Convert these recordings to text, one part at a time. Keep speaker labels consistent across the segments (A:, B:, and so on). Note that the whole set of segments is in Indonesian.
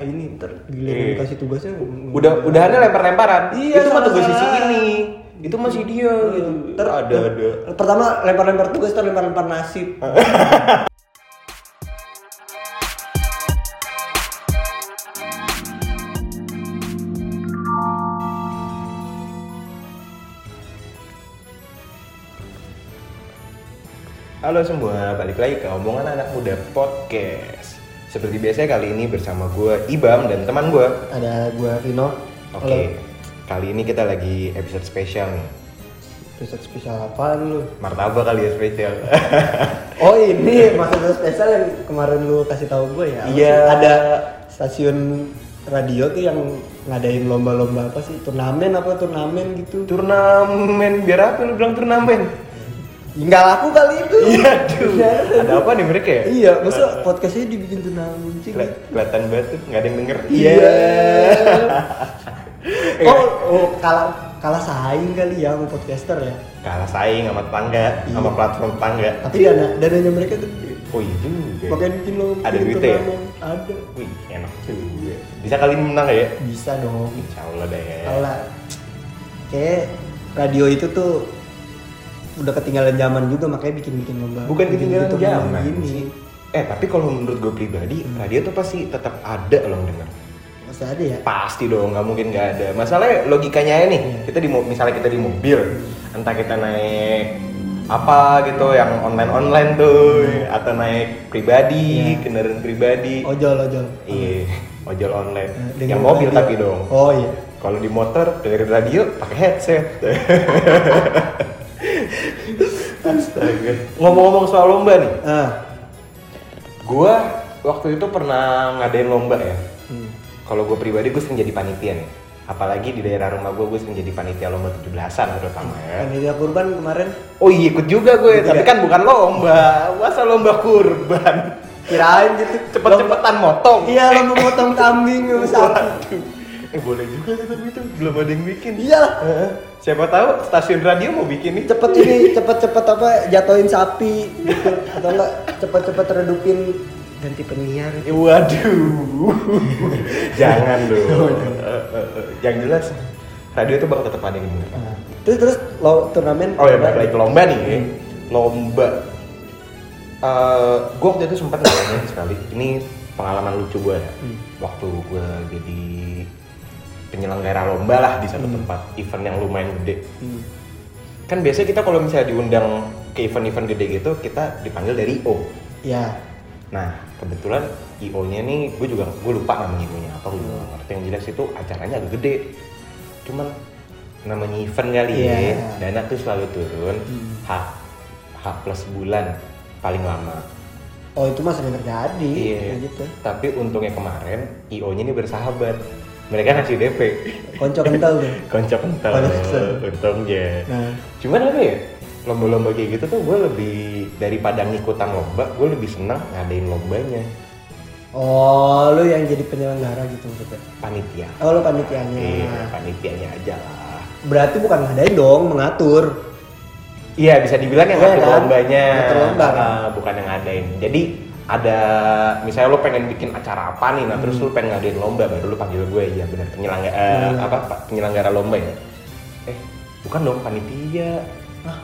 A: Eh, ini tergilir yang
B: Iya.
A: dikasih tugasnya
B: udah udahannya lempar-lemparan
A: Iya,
B: itu mah tugas
A: sama-sama.
B: sisi ini itu masih dia gitu
A: Ter-
B: ada ada
A: pertama lempar-lempar tugas terus lempar-lempar nasib
B: halo semua balik lagi ke omongan anak muda podcast seperti biasa kali ini bersama gue Ibam dan teman gue
A: ada gua Vino
B: oke kali ini kita lagi episode spesial nih
A: episode spesial apaan lu
B: martabak kali ya spesial
A: oh ini maksudnya spesial yang kemarin lu kasih tahu gue ya
B: Iya.
A: ada stasiun radio tuh yang ngadain lomba-lomba apa sih turnamen apa turnamen gitu
B: turnamen biar apa lu bilang turnamen
A: nggak laku kali itu
B: iya tuh ada apa nih mereka ya
A: iya masa podcastnya dibikin turnamen sih
B: Keli- kelihatan banget tuh nggak ada yang denger
A: Iya.
B: Eh.
A: oh, oh kalah kalah saing kali ya sama podcaster ya
B: kalah saing sama tetangga sama platform tetangga
A: tapi dana dananya mereka tuh gede.
B: oh iya juga ya.
A: makanya bikin lo Iya.
B: Ada duitnya ya?
A: ada
B: Wih, enak juga. Bisa kali ini menang gak ya?
A: bisa dong
B: Insya Allah deh.
A: kalau lah kayak radio itu tuh udah ketinggalan zaman juga makanya bikin bikin lomba
B: Bukan ketinggalan
A: bikin-bikin turnamen
B: zaman
A: gini
B: sih. Eh, tapi kalau menurut gue pribadi,
A: Hmm.
B: radio tuh pasti tetap ada loh yang denger.
A: masih ada ya
B: Pasti dong, nggak mungkin nggak ada. Masalahnya logikanya ya nih,
A: Hmm.
B: kita di mo- misalnya kita di mobil, entah kita naik apa gitu yang online-online tuh atau naik pribadi, kendaraan pribadi.
A: Hmm. Iya. ojol ojol
B: Iya, ojol online.
A: Nah, dengan
B: yang mobil
A: radio.
B: tapi dong.
A: oh iya
B: Kalau di motor dari radio pakai headset. Astaga. Ngomong-ngomong soal lomba nih,
A: ah
B: gua waktu itu pernah ngadain lomba ya.
A: hmm.
B: Kalau gue pribadi gue sering jadi panitia nih. Apalagi di daerah rumah gue, gue sering jadi panitia lomba 17-an terutama ya.
A: Panitia kurban kemarin
B: Oh iya ikut juga gue, tapi kan bukan lomba. Masa lomba kurban?
A: kirain gitu
B: Cepet-cepetan motong.
A: iya lo mau potong kambing sama sapi
B: Waduh. Eh boleh juga tuh, tapi itu belum ada yang bikin.
A: iyalah
B: Heeh. Siapa tahu stasiun radio mau bikin nih.
A: cepet ini cepet cepet apa jatuhin sapi gitu atau enggak cepet cepet redupin ganti penyiar
B: Eh, Waduh. Jangan dong. Eh, eh, eh. yang jelas radio itu bakal tetap ada yang denger.
A: Nah, terus terus lo turnamen
B: Oh Hmm. ya balik lagi ke lomba nih. Lomba. Eh, gue waktu itu sempat ngalamin sekali. Ini pengalaman lucu gue ya. Waktu gue jadi penyelenggara lomba lah di satu tempat event yang lumayan gede.
A: Hmm.
B: Kan biasanya kita kalau misalnya diundang ke event-event gede gitu, kita dipanggil dari O.
A: ya
B: Nah, kebetulan IO-nya nih, gue juga gue lupa namanya IO-nya apa,
A: Hmm.
B: gue juga nggak ngerti yang jelas itu acaranya agak gede. Cuman namanya event kali
A: Iya. Hmm.
B: ya, dana tuh selalu turun H H plus bulan paling lama.
A: oh itu mah sering terjadi
B: Iya.
A: kayak gitu
B: Tapi untungnya kemarin IO-nya ini bersahabat. Mereka ngasih DP.
A: konco kental tuh
B: Konco kental.
A: Konco kental.
B: Untungnya.
A: nah
B: Cuman apa ya? Lomba-lomba kayak gitu tuh gue lebih daripada ngikutan lomba, gue lebih senang ngadain lombanya.
A: oh lo yang jadi penyelenggara gitu maksudnya
B: Panitia.
A: oh lo panitianya
B: Iya, panitianya aja lah.
A: berarti bukan ngadain dong mengatur
B: Iya, bisa dibilang yang
A: Iya,
B: ngatur
A: kan?
B: lombanya,
A: Ngatur lomba, kan?
B: Ah, bukan yang ngadain. Jadi ada misalnya lo pengen bikin acara apa nih, nah terus
A: Hmm.
B: lo pengen ngadain lomba, baru lo panggil gue ya benar penyelenggara eh, apa pa- penyelenggara lomba ya. Eh, bukan dong panitia.
A: ah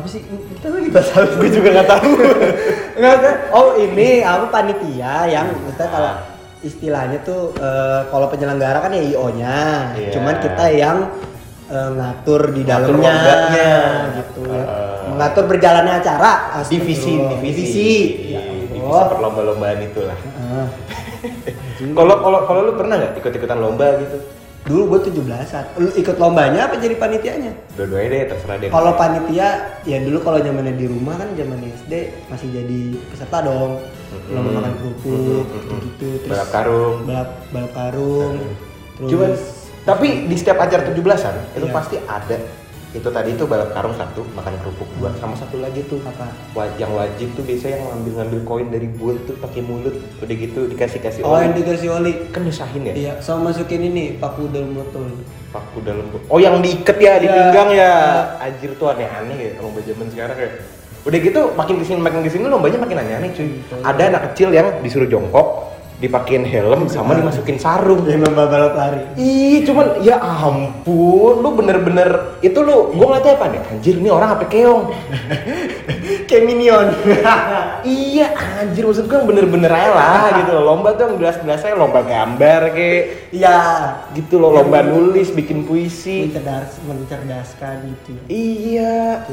A: apa sih kita lagi bahas apa
B: gue juga nggak tahu.
A: Enggak, enggak. Oh ini apa panitia yang
B: Iya.
A: kita kalau istilahnya tuh eh, kalau penyelenggara kan ya IO-nya.
B: Iya.
A: Cuman kita yang eh, ngatur di
B: Ngatur
A: dalamnya
B: lombanya.
A: gitu.
B: Heeh.
A: Mengatur berjalannya acara. Astagfirullah.
B: divisi, divisi, Iya,
A: Ya
B: divisi
A: Allah.
B: perlomba-lombaan itulah.
A: Heeh.
B: Kalau kalau kalau lo pernah nggak ikut-ikutan lomba gitu?
A: Dulu gue 17-an. Lu ikut lombanya apa jadi panitianya?
B: Dua-duanya deh, terserah deh.
A: Kalau panitia ya dulu kalau zamannya di rumah kan zaman SD masih jadi peserta dong. Lomba makan kerupuk gitu-gitu. Terus
B: Mm-hmm. balap karung. Mm-hmm.
A: balap balap karung terus
B: Cuman, tapi di setiap acara 17-an
A: Hmm. Iya.
B: itu pasti ada itu tadi itu balap karung satu, makan kerupuk dua, sama satu lagi tuh
A: Apa?
B: Wa- yang wajib tuh biasanya yang ngambil ngambil koin dari buah tuh pakai mulut udah gitu dikasih kasih
A: oh yang dikasih oli
B: kan nyusahin ya
A: iya sama masukin ini paku dalam botol
B: paku dalam oh yang diikat ya di
A: Iya.
B: pinggang ya anjir tuh aneh aneh ya lomba zaman sekarang ya
A: Hmm.
B: udah gitu makin kesini makin kesini lombanya makin aneh aneh cuy ada anak kecil yang disuruh jongkok dipakein helm sama
A: Iya.
B: dimasukin sarung
A: Dia lomba balap lari.
B: Ih, cuman ya ampun, lu bener-bener itu lu, gua ngeliatnya apa nih? Anjir, ini orang apa keong?
A: Kayak minion.
B: iya, anjir maksud gua yang bener-bener aja lah gitu loh. Lomba tuh yang jelas-jelasnya lomba gambar kayak
A: Iya.
B: gitu loh, lomba nulis, bikin puisi.
A: Mencerdas, mencerdaskan gitu.
B: Iya.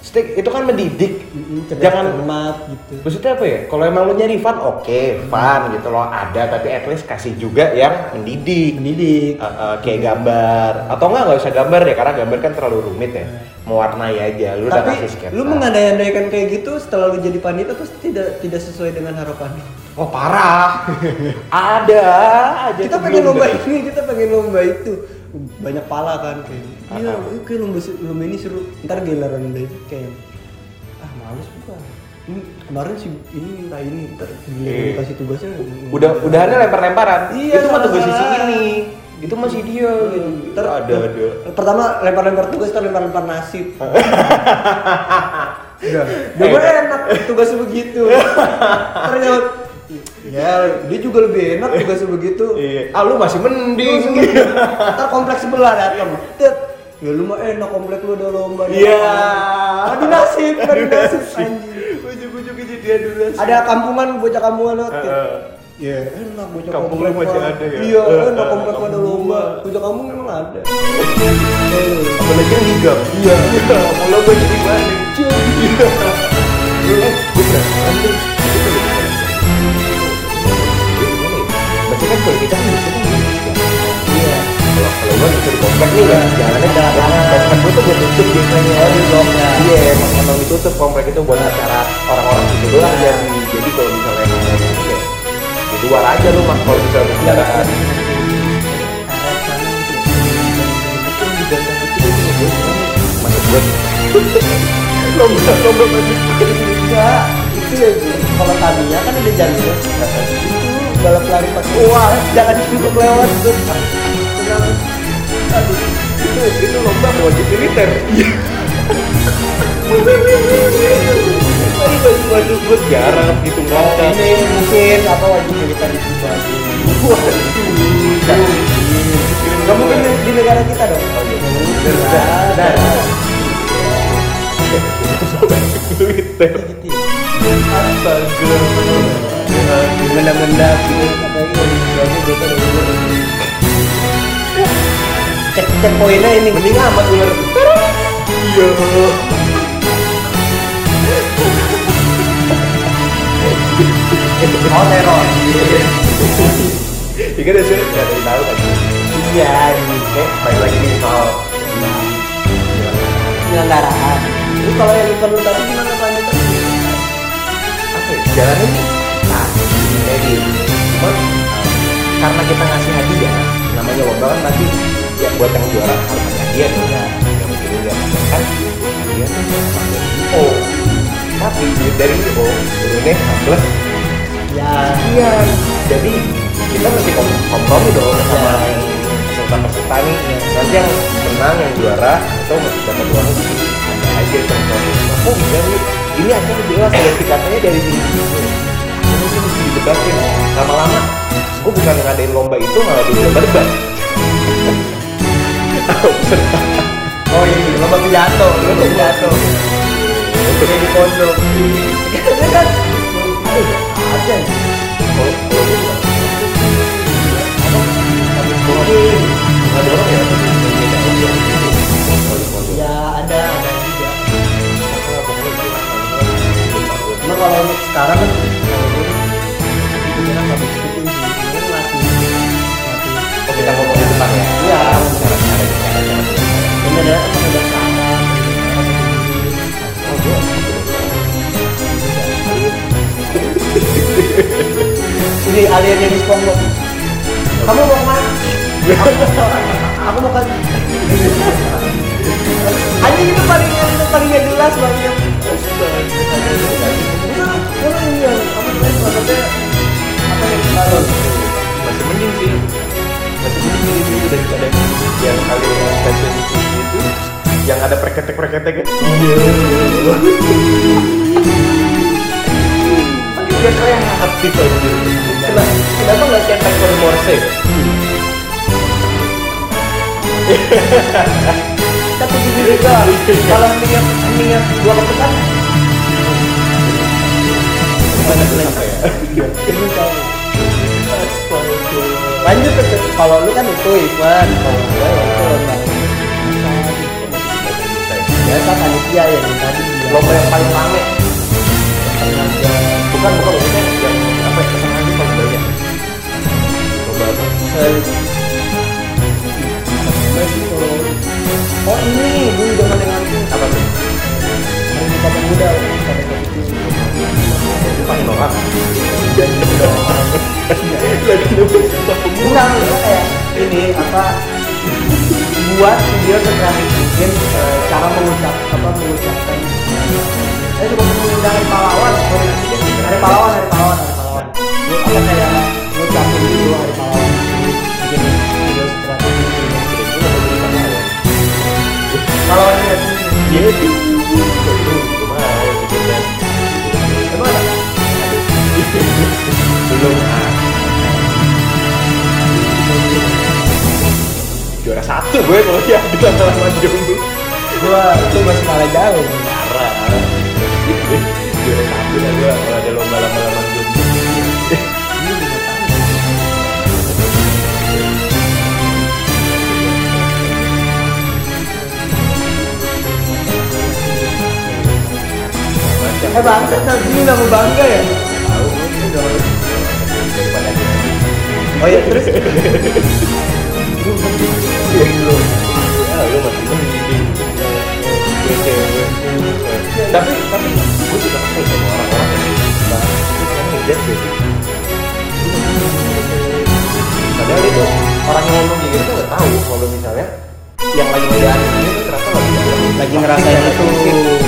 B: Stick, itu kan mendidik.
A: Mm-mm, Cerdas
B: Jangan
A: cermat gitu.
B: Maksudnya apa ya? Kalau emang lu nyari fun, oke, fun gitu loh ada, tapi at least kasih juga yang mendidik.
A: Mendidik.
B: Uh, uh, kayak gambar atau enggak nggak usah gambar ya karena gambar kan terlalu rumit ya mewarnai aja lu udah
A: Tapi
B: kasih sketsa
A: lu mengandai-andaikan kayak gitu setelah lu jadi panita terus tidak tidak sesuai dengan harapannya.
B: oh parah ada aja
A: kita
B: tuh
A: pengen
B: blunder.
A: lomba ini kita pengen lomba itu banyak pala kan kayak iya oke lomba se- lomba ini seru ntar giliran udah itu kayak ah males gua Hmm, kemarin si ini minta ini ntar giliran
B: Iya.
A: dikasih tugasnya mm,
B: udah udahannya lempar lemparan
A: Iya, Hmm,
B: itu mah tugas sisi
A: salah.
B: ini itu masih dia gitu.
A: ntar
B: ada ada
A: pertama lempar-lempar tugas ntar lempar-lempar nasib udah udah
B: Eh.
A: gua enak tugasnya begitu ternyata ya dia juga lebih enak tugasnya begitu
B: iya. ah lu masih mending
A: Ntar gitu. kompleks sebelah datang. Tet. Ya lu mah enak komplek lu ada lomba. ada
B: iya
A: apa. Adu nasib, adu nasib anjing.
B: ujung-ujungnya jadi adu nasib
A: Ada kampungan, bocah kampungan lewat.
B: Eh,
A: ya.
B: eh.
A: Iya, enak bocah
B: Kampung lu
A: komplek
B: masih
A: mah.
B: ada ya?
A: Iya,
B: Eh,
A: enak
B: eh,
A: komplek lu ada
B: kampung
A: lomba.
B: gua.
A: Bocah kampung emang ada.
B: apalagi yang higap iya kalau gue jadi balik cuy iya Eh, gue penasaran tuh. Itu tuh gue penasaran. Itu gimana ya? Berarti kan kalau kita kan itu kan gitu.
A: Iya.
B: Kalau- kalau gue bisa dikomplek nih ya jalannya ke
A: Jalan.
B: belakang komplek gue tuh gue tutup biasanya
A: Oh, di blok ya.
B: iya emang emang ditutup komplek itu buat acara orang-orang situ doang jadi jadi kalau misalnya emang ada yang kayak di luar aja lu mas kalau
A: Iya,
B: misalnya ada kendaraan maksud gue lomba lomba
A: Enggak, itu ya Ji. kalau tadinya kan ada jalur itu balap lari pakai wah jangan duduk lewat tuh Kenapa?
B: Aduh, itu itu lomba wajib militer
A: Iya.
B: Ini baju baju gue jarang gitu ngangkat
A: ini mungkin apa wajib militer itu Bang.
B: Wah, itu
A: nggak mungkin di, di negara kita dong Oh, iya,
B: Benar, benar. militer
A: gitu
B: Astaga
A: benda-benda gitu apalagi yang biasanya biasa dari dulu cek cek poinnya ini
B: Mending amat ular Iya
A: oh teror
B: Iya kan dasarnya nggak ada yang tahu kan
A: iya ini
B: Eh, balik lagi nih soal
A: penyelenggaraan terus kalau yang event lu tadi gimana lanjutannya
B: apa ya jalannya nih nah jadi cuman eh, karena kita ngasih hadiah namanya lomba kan pasti ya buat yang juara harus ada hadiah tuh ya yang mungkin udah kan hadiah oh tapi duit dari IO turunnya plus
A: ya
B: iya jadi kita mesti kom- kompromi dong sama yang peserta-peserta nih nanti yang menang yang juara atau masih dapat uang ada aja kompromi oh bisa nih ini akan jelas kualifikasinya dari sini sini ini tuh mesti didebatin lama-lama gue bukan ngadain lomba itu malah jadi lomba debat Tahu peserta
A: oh ini
B: iya,
A: lomba pidato lomba pidato
B: Oke.
A: jadi pondok Karena kan aduh ada nih.
B: Kalau- kalau gue bilang, apa? Habis bohong. Nggak ada orang ya? Beda aja. Kalau-
A: ya ada ada juga Cuma
B: Emang
A: kalau untuk sekarang kan kalau gue itu kan nggak begitu tinggi, sebenarnya masih masih
B: Oh, kita ngomong di depan ya?
A: Iya.
B: Cara-cara cara-cara cara.
A: benar ya apa udah sama
B: Oh, gua-
A: ini aliennya di SpongeBob kamu mau kemana? aku mau ke anjing itu paling itu paling gak jelas banget itu itu ini yang apa namanya maksudnya apa yang baru
B: Masih mending sih. Masih mending milih dulu daripada yang kali yang fashion itu yang ada preketek-preketek. Iya. Pakai dia kreatif aja. kenapa kenapa nggak siapa yang more safe?
A: Tapi gini deh Kak, kalau niat niat gua ke depan
B: Gimana tuh sampai ya?
A: ini tahu. Lanjut ke kalau lu kan itu Ivan, kalau gua ya itu tentang biasa panitia yang tadi bilang.
B: Lomba yang paling rame. Bukan bukan maksudnya yang apa ya kesenangannya paling banyak. Lomba apa?
A: Oh ini dulu zaman yang langsung
B: Apa tuh?
A: yang kita pemuda kata itu
B: Paling orang.
A: kurang itu kayak eh, ini apa buat dia sekreatif mungkin eh, cara mengucap apa mengucapkan saya juga mengundang hari pahlawan hari pahlawan hari pahlawan hari pahlawan Lu apa kayak mengucapin itu hari pahlawan bikin video sekreatif mungkin. kalau ini
B: Iya itu. Itu cuma gitu kan.
A: emang ada
B: Belum. ah. Juara satu gue kalau ya di antara sama Jumbo.
A: gua itu masih kalah jauh
B: Parah. Juara satu lah gue kalau ada lomba lama-lama Jumbo. Macam
A: eh bangsa tadi ini nggak mau bangga ya
B: tahu gue udah daripada dia.
A: oh iya terus
B: Iya, lu. Ah, lu masih mending. Gue cewek. Tapi tapi gue juga kesel sama orang-orang yang bilang, "Lu kan ngejat gak sih?" Padahal itu orang yang ngomong kayak gitu tuh nggak tahu kalau misalnya yang lagi ngejalanin ini tuh ternyata lagi ngejalanin-
A: lagi ngerasain itu
B: toxic relationship.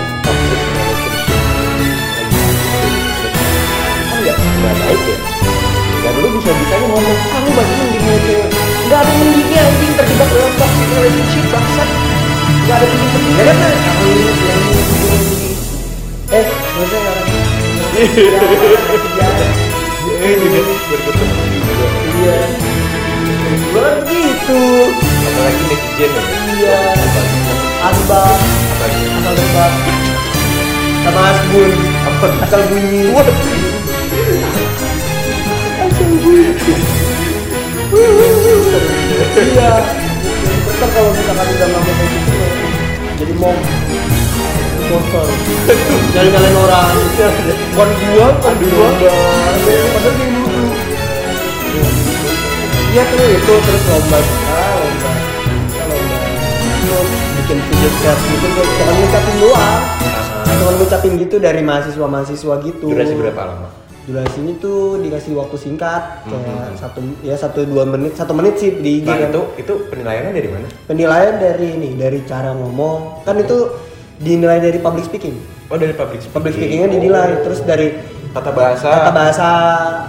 B: Kan nggak nggak baik ya. Dan lu bisa bisanya ngomong, ah lu masih mending sama cewek. Nggak ada mendingnya anjing terjebak dalam toxic relationship bangsat. Nggak ada mending mendingnya kan? Nay?
A: eh maksudnya orang
B: Eh juga berketemu juga.
A: iya gua kan begitu
B: Apalagi netizen ya.
A: Iya. asbak
B: Apalagi
A: asal debat sama asbun
B: apa?
A: asal bunyi iya tetap kalau misalkan udah lama kayak gitu ya. jadi mau kotor jangan nyalain orang bukan gua bukan gua padahal dia lucu iya tuh itu terus lomba kita lomba kita lomba itu bikin video sketch gitu gua cuma ngucapin doang cuma ngucapin gitu dari mahasiswa-mahasiswa gitu
B: Durasi berapa lama?
A: durasinya tuh dikasih waktu singkat kayak satu ya satu dua menit satu menit sih di IG
B: Mhm. Nah,
A: kan.
B: itu itu penilaiannya dari mana?
A: penilaian dari ini dari cara ngomong kan itu dinilai dari public speaking
B: Oh dari public speaking.
A: public speakingnya dinilai
B: Oh.
A: terus dari
B: tata bahasa.
A: tata bahasa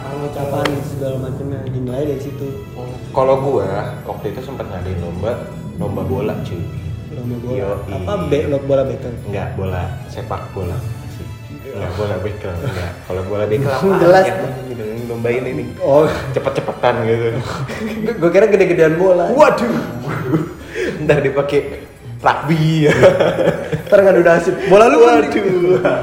A: pengucapan segala macamnya dinilai dari situ
B: Oh. Kalau gua waktu itu sempat ngadain lomba lomba bola cuy.
A: lomba bola
B: Yoi.
A: apa be lo- bola bekel
B: Enggak bola sepak bola. Enggak bola bekel, enggak. Kalau bola bekel apa?
A: Jelas.
B: lomba ini nih.
A: oh
B: Cepet-cepetan gitu.
A: gue kira gede-gedean bola
B: Waduh. Ntar dipakai rugby.
A: ntar ngadu nasib bola lu kan
B: Waduh.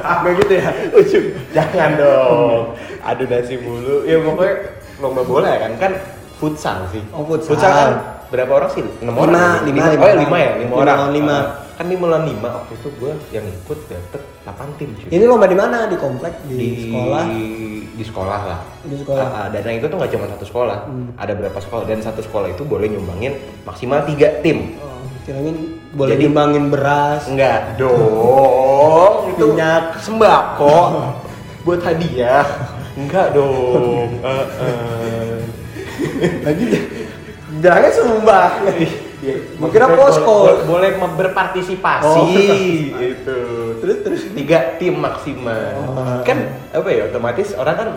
B: Apa gitu ya? Ujung. Jangan dong. Adu nasi mulu. Ya pokoknya lomba bola ya kan kan futsal sih.
A: Oh, futsal.
B: kan berapa orang sih? 6 orang.
A: Lima,
B: ya?
A: lima, lima
B: Oh,
A: orang.
B: ya 5 ya, 5
A: Lima
B: orang.
A: lawan lima.
B: Ah, kan 5 lawan 5 waktu itu gua yang ikut dapet 8 tim cuy.
A: ini lomba di mana di komplek Iya, di, sekolah
B: di sekolah lah.
A: Di sekolah.
B: Ah, ah, dan yang itu tuh nggak cuma satu sekolah,
A: Hmm.
B: ada berapa sekolah dan satu sekolah itu boleh nyumbangin maksimal tiga tim.
A: oh, kirain boleh
B: Jadi-
A: nyumbangin beras
B: Enggak dong, itu
A: Minyak.
B: sembako buat hadiah. Enggak dong. Eh, eh.
A: lagi jangan sumbah
B: Ya,
A: Iya, Gua kira
B: boleh-
A: posko.
B: boleh- Boleh berpartisipasi
A: Oh, berpartisipasi.
B: itu.
A: terus terus
B: Tiga tim maksimal.
A: Oh.
B: Kan apa ya otomatis orang kan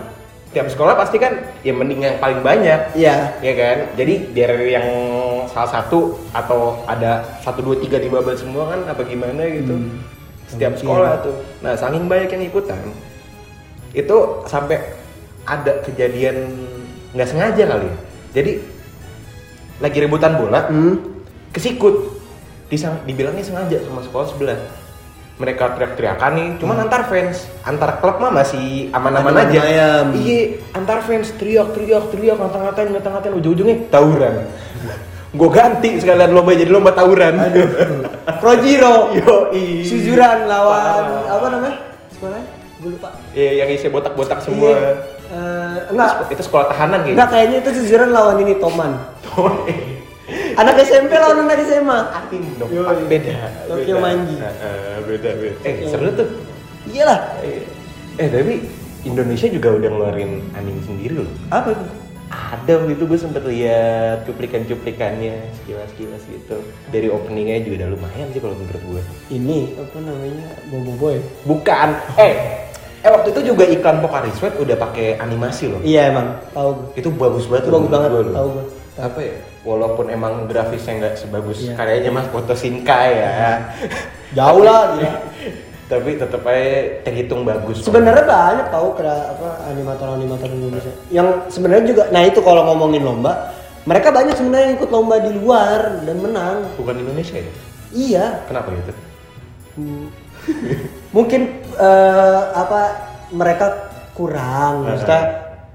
B: tiap sekolah pasti kan ya mending yang paling banyak.
A: iya
B: Ya kan? Jadi biar yang salah satu atau ada satu dua tiga di babak semua kan apa gimana gitu.
A: Hmm.
B: Setiap
A: Mungkin.
B: sekolah tuh. Nah, saking banyak yang ikutan itu sampai ada kejadian nggak sengaja kali ya. Jadi lagi rebutan bola,
A: Hmm?
B: kesikut Disang- dibilangnya sengaja sama sekolah sebelah mereka teriak-teriakan nih
A: Hmm.
B: cuman antar fans antar klub mah masih aman-aman
A: Aman-aman
B: aja
A: ayam.
B: iya antar fans teriak-teriak teriak ngata-ngatain ngata-ngatain ujung-ujungnya tawuran gue ganti sekalian lomba jadi lomba tawuran
A: Projiro
B: Yoi.
A: Suzuran lawan
B: Parah.
A: apa namanya sekolah gue lupa
B: Iya, yang isi botak-botak
A: Iya.
B: semua
A: Eh, enggak
B: itu sekolah tahanan
A: enggak kayaknya
B: kayaknya
A: itu Suzuran lawan ini Toman
B: Tuh,
A: anak SMP lawan anak SMA
B: Atin dong,
A: Yoi.
B: Pak. beda.
A: Tokyo
B: beda.
A: Manji.
B: Heeh, beda, beda. Eh,
A: Tokyo
B: seru tuh.
A: iyalah
B: Eh, Eh, tapi Indonesia juga udah ngeluarin anime sendiri loh.
A: apa itu
B: Ada waktu itu gue sempet lihat cuplikan-cuplikannya sekilas-sekilas gitu. Dari openingnya juga udah lumayan sih kalau menurut gue.
A: ini apa namanya Bobo Boy
B: Bukan. Eh, eh waktu itu juga iklan Pocari Sweat udah pakai animasi loh.
A: iya emang tahu gue
B: Itu bagus
A: itu
B: banget. loh
A: bagus
B: menurut
A: banget
B: gua loh.
A: tahu gue
B: apa ya? Walaupun emang grafisnya nggak sebagus
A: Iya.
B: karyanya Mas Foto Sinka ya.
A: jauh lah gitu. gila.
B: tapi tetap aja terhitung bagus
A: sebenarnya banyak tahu kera apa animator animator Indonesia yang sebenarnya juga nah itu kalau ngomongin lomba mereka banyak sebenarnya yang ikut lomba di luar dan menang
B: bukan Indonesia ya
A: iya
B: kenapa gitu
A: Hmm. mungkin eh, apa mereka kurang maksudnya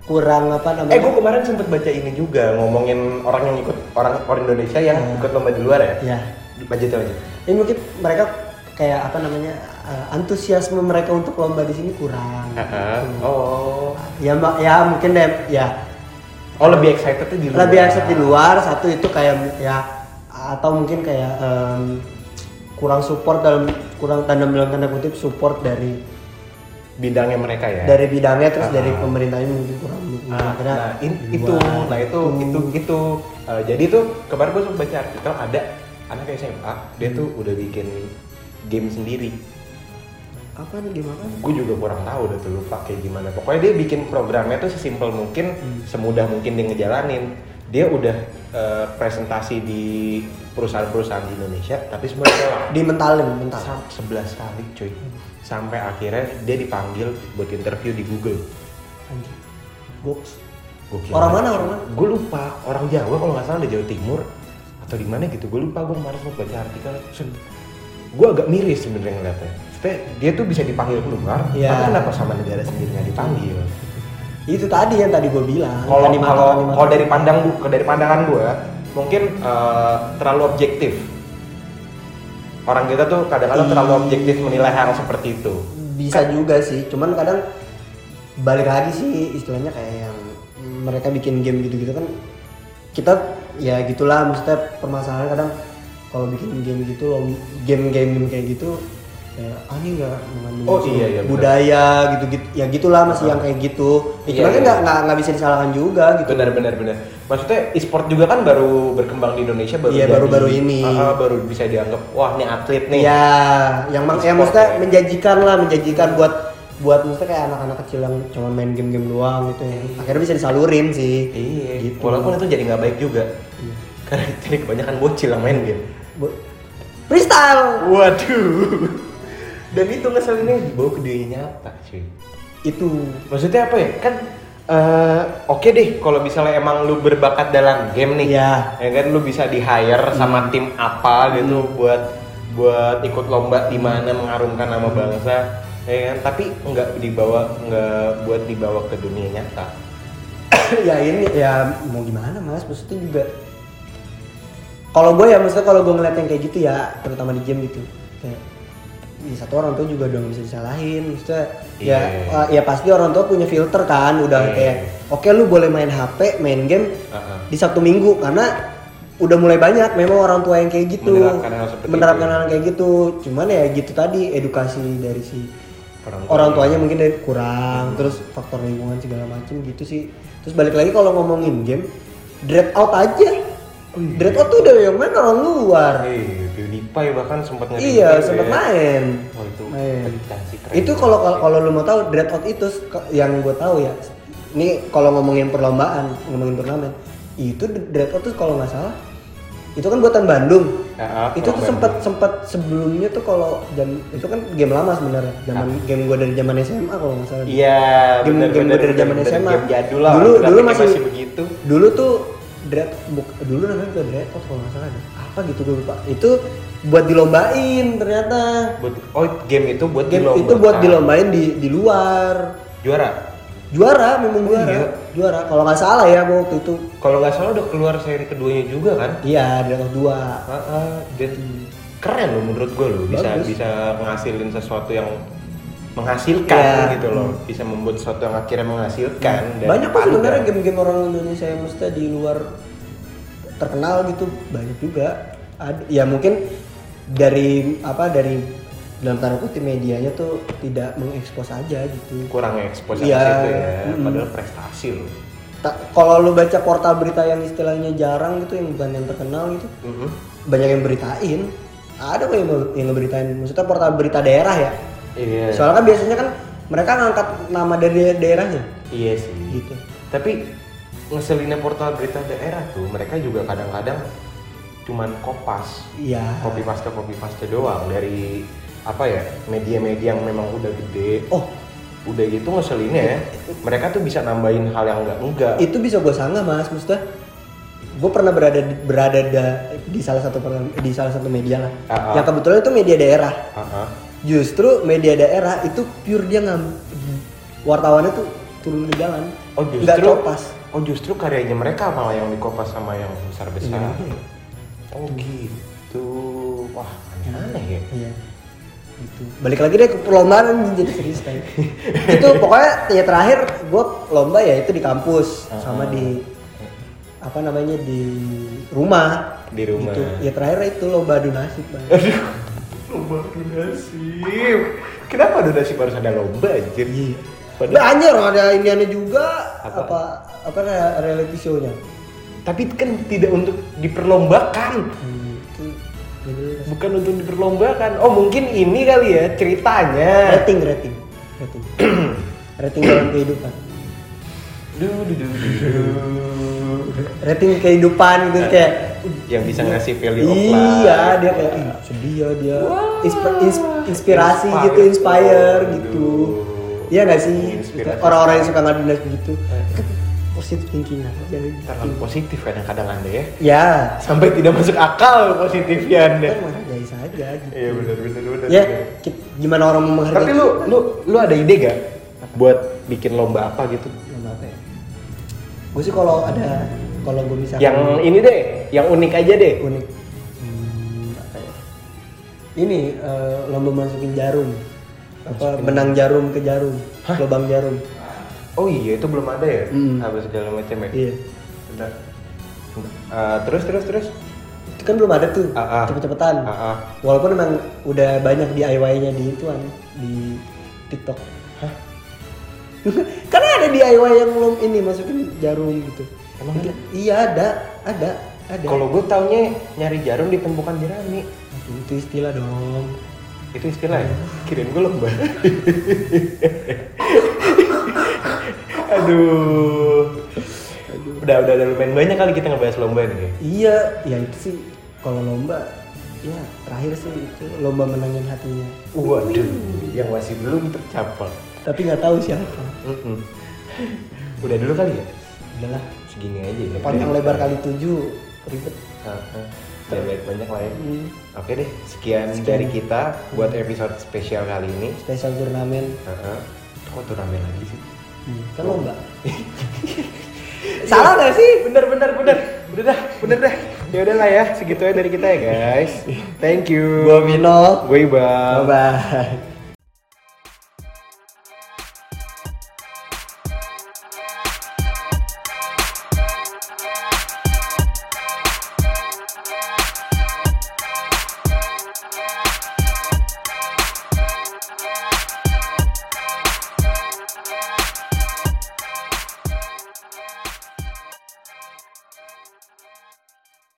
A: kurang apa
B: eh gue
A: namanya
B: kemarin sempet baca ini juga ngomongin orang yang ikut orang orang Indonesia yang
A: Hmm.
B: ikut lomba di luar ya
A: ya
B: budget aja
A: ini mungkin mereka kayak apa namanya eh, antusiasme mereka untuk lomba di sini kurang
B: oh
A: ya mbak ya mungkin deh ya
B: oh lebih excited di luar
A: lebih accept di luar satu itu kayak ya atau mungkin kayak em, kurang support dalam kurang tanda dalam tanda kutip support dari
B: bidangnya mereka ya
A: dari bidangnya terus dari pemerintahnya mungkin kurang mungkin
B: Ah,
A: akhirnya
B: nah, in-
A: di
B: itu
A: luar. Hmm.
B: nah itu itu itu Eh, jadi tuh kemarin gue sempet baca artikel ada anak SMA dia
A: Hmm.
B: tuh udah bikin game sendiri
A: apa nih gimana
B: gue juga kurang tahu udah tuh lupa kayak gimana pokoknya dia bikin programnya tuh sesimpel mungkin
A: Hmm.
B: semudah mungkin dia ngejalanin dia udah eh, presentasi di perusahaan-perusahaan di Indonesia tapi semua ditolak
A: di mentalin mental
B: Sam- 11 kali cuy sampai akhirnya dia dipanggil buat interview di Google
A: Anjing. box
B: Gokil.
A: Orang mana, orang mana?
B: gue lupa orang Jawa kalau nggak salah dari Jawa Timur atau di mana gitu gue lupa gue kemarin sempat baca artikel gue agak miris sebenarnya ngeliatnya Maksudnya, dia tuh bisa dipanggil keluar
A: Iya.
B: tapi kenapa sama negara sendiri nggak dipanggil
A: itu tadi yang tadi gue bilang
B: kalau
A: animator-
B: kalau
A: animator.
B: kalau dari pandang bu- dari pandangan gue mungkin eh, terlalu objektif orang kita tuh kadang-kadang
A: Iya.
B: terlalu objektif menilai hal seperti itu
A: bisa juga sih cuman kadang balik lagi sih istilahnya kayak yang mereka bikin game gitu-gitu kan kita ya gitulah maksudnya permasalahan kadang kalau bikin game gitu loh game-game kayak gitu kayak ah ini nggak mengandung
B: Oh,
A: unsur
B: iya, iya, benar.
A: budaya gitu-gitu ya gitulah masih yang kayak gitu ya,
B: Iya,
A: cuman kan
B: iya.
A: nggak nggak nggak bisa disalahkan juga gitu
B: benar benar benar maksudnya e-sport juga kan baru berkembang di Indonesia baru
A: Iya,
B: jadi-
A: baru-baru ini.
B: Ah, ah, baru bisa dianggap wah ini atlet nih
A: ya yang mak ya
B: E-sport
A: maksudnya
B: ya.
A: menjanjikan lah menjanjikan buat buat maksudnya kayak anak-anak kecil yang cuma main game-game doang gitu ya. akhirnya bisa disalurin sih
B: iya
A: Gitu.
B: walaupun itu jadi nggak baik juga karena jadi kebanyakan bocil yang main game
A: Bu- freestyle
B: waduh dan itu ngeselinnya dibawa ke dunia nyata cuy
A: itu
B: maksudnya apa ya kan eh, oke deh kalau misalnya emang lu berbakat dalam game nih
A: Iya.
B: ya kan lu bisa di hire sama tim apa gitu buat buat ikut lomba di mana mengarungkan nama bangsa ya kan tapi nggak dibawa nggak buat dibawa ke dunia nyata
A: ya ini ya mau gimana mas maksudnya juga kalau gue ya maksudnya kalau gue ngeliat yang kayak gitu ya terutama di game gitu kayak ya satu orang tua juga udah nggak bisa disalahin maksudnya
B: Iya.
A: ya eh, ya pasti orang tua punya filter kan udah
B: Iya.
A: kayak oke lu boleh main HP main game
B: Heeh.
A: di Sabtu Minggu karena udah mulai banyak memang orang tua yang kayak gitu
B: Menerapkan hal seperti
A: menerapkan
B: itu.
A: hal kayak gitu cuman ya gitu tadi edukasi dari si
B: orang, Hmm.
A: orang tuanya mungkin dari kurang terus faktor lingkungan segala macem gitu sih terus balik lagi kalau ngomongin game dread out aja
B: Oh iya.
A: dread out tuh udah yang main orang luar
B: eh PewDiePie bahkan sempat nge-
A: iya
B: gitu
A: sempat
B: ya.
A: main
B: oh itu
A: Main.
B: pecah sih, keren.
A: Nah, iya. itu kalau kalau- kalau lu mau tahu dread out itu ke- yang gue tahu ya ini kalau ngomongin perlombaan ngomongin turnamen itu dread out tuh kalau nggak salah itu kan buatan Bandung
B: Ya,
A: itu tuh
B: Pulau
A: sempat sempat sebelumnya tuh kalau jam itu kan game lama sebenarnya zaman game gua dari zaman SMA kalau nggak salah
B: Ah. Iya,
A: Game-
B: bener,
A: game
B: bener,
A: dari zaman
B: bener,
A: SMA.
B: Game jadul lah.
A: Dulu-
B: orang
A: dulu
B: bilangnya
A: masih-
B: begitu.
A: dulu tuh dread buk, dulu namanya bukan dread out kalau nggak salah ada. apa gitu gue lupa itu buat dilombain ternyata
B: Buat- oh, game itu buat
A: game
B: dilombakan.
A: itu buat dilombain di di luar
B: Juara.
A: juara memang juara
B: iya?
A: juara kalau nggak salah ya gua waktu itu
B: Kalau nggak salah udah keluar seri keduanya juga kan?
A: iya dread out dua
B: Ah, ah, dan keren loh menurut gue loh bisa
A: Bagus.
B: bisa menghasilin sesuatu yang menghasilkan
A: Ya.
B: gitu loh bisa membuat sesuatu yang akhirnya menghasilkan dan
A: Hmm. banyak kok
B: pandang.
A: sebenarnya game-game orang Indonesia yang mesti di luar terkenal gitu banyak juga Ad- ya mungkin dari apa dari dalam tanda kutip medianya tuh tidak mengekspos aja gitu
B: kurang ekspos
A: Iya.
B: atas itu ya
A: Mm-mm.
B: padahal prestasi loh
A: Ta- kalau lu baca portal berita yang istilahnya jarang gitu yang bukan yang terkenal gitu
B: Mm-mm.
A: banyak yang beritain ada kok yang, yang ngeberitain maksudnya portal berita daerah ya
B: iya
A: soalnya kan biasanya kan mereka ngangkat nama dari daer- daerahnya
B: iya sih
A: gitu
B: tapi ngeselinnya portal berita daerah tuh mereka juga kadang-kadang cuman kopas
A: iya
B: copy paste copy paste doang dari apa ya media-media yang memang udah gede
A: oh
B: udah gitu ngeselinnya ya mereka tuh bisa nambahin hal yang enggak enggak
A: itu bisa gue sanggah mas maksudnya gue pernah berada di, berada da- di salah satu program- di salah satu media lah
B: Ah, ah.
A: yang kebetulan itu media daerah
B: Ah, ah.
A: justru media daerah itu pure dia ngam wartawannya tuh turun ke jalan
B: oh
A: nggak
B: justru
A: copas
B: oh justru karyanya mereka malah yang dikopas sama yang besar besar
A: Iya.
B: oh gitu wah aneh ya
A: Iya. Gitu. Balik lagi deh ke perlombaan jadi serius kan. itu pokoknya ya terakhir gue lomba ya itu di kampus sama di apa namanya di rumah.
B: Di rumah.
A: Gitu. Ya terakhir itu lomba adu nasib Bang.
B: aduh lomba donasi kenapa donasi harus ada lomba anjir Padahal-
A: Banyak orang ada iniannya juga
B: Apa?
A: apa apa, re- reality show-nya.
B: tapi kan tidak untuk diperlombakan
A: Hmm, itu nggak jelas.
B: bukan untuk diperlombakan oh mungkin ini kali ya ceritanya
A: Rating rating rating. rating dalam kehidupan.
B: duh, duh, duh, duh, duh.
A: Rating kehidupan gitu kayak
B: yang bisa ngasih value of life.
A: Iya, dia kayak "Ih, sedih ya dia.
B: Wah.
A: Insp- ins- inspirasi
B: Inspire.
A: gitu, inspire gitu.
B: Waduh.
A: Iya nggak sih?
B: Inspirasi. Iya.
A: Orang-orang yang suka ngadu nasib gitu. Positive thinking aja.
B: terlalu positif kadang-kadang anda ya
A: Ya,
B: sampai tidak masuk akal positifnya anda
A: kan menghargai saja gitu.
B: iya benar benar benar
A: Ya, ki- gimana orang mau menghargai?
B: tapi lu lu lu ada ide gak buat bikin lomba apa gitu
A: Lomba apa ya? Gue sih kalau ada kalau gue bisa
B: yang ini deh yang unik aja deh
A: unik. Hmm, apa ya? Ini eh, lomba masukin jarum. Apa menang jarum ke jarum, lubang jarum.
B: oh iya itu belum ada ya
A: Mm.
B: apa segala macam ya
A: Iya.
B: Bentar. Eh, terus terus terus
A: Itu kan belum ada tuh,
B: Ah, ah.
A: cepet-cepetan.
B: Ah, ah.
A: Walaupun emang udah banyak DIY-nya di ituan, di TikTok. Hah? Karena ada DIY yang belum ini masukin jarum gitu.
B: Emang
A: Itu- Iya ada, ada, ada.
B: kalau gue taunya nyari jarum di tumpukan jerami
A: Aduh, itu istilah dong.
B: itu istilah ya?
A: Hmm.
B: kirain gue lomba aduh udah udah udah lumayan banyak kali kita ngebahas lomba ini
A: Iya, ya itu sih kalau lomba ya terakhir sih itu lomba menangin hatinya.
B: waduh yang masih belum tercapai
A: Tapi nggak tahu siapa.
B: Mm-mm. udah dulu kali ya
A: Udahlah,
B: segini aja ya
A: panjang
B: Udah.
A: lebar kali tujuh ribet.
B: Ah, ah. udah banyak banyak lah ya
A: Hmm.
B: oke deh sekian,
A: Sekian.
B: dari kita buat episode spesial kali ini
A: Spesial turnamen
B: Ah, ah. kok turnamen lagi sih
A: Hmm, kan lomba. Salah gak sih?
B: bener bener bener bener dah bener dah ya udahlah ya segitu aja dari kita ya guys thank you
A: Gua Mino.
B: gue
A: Bye
B: Ibal
A: bye.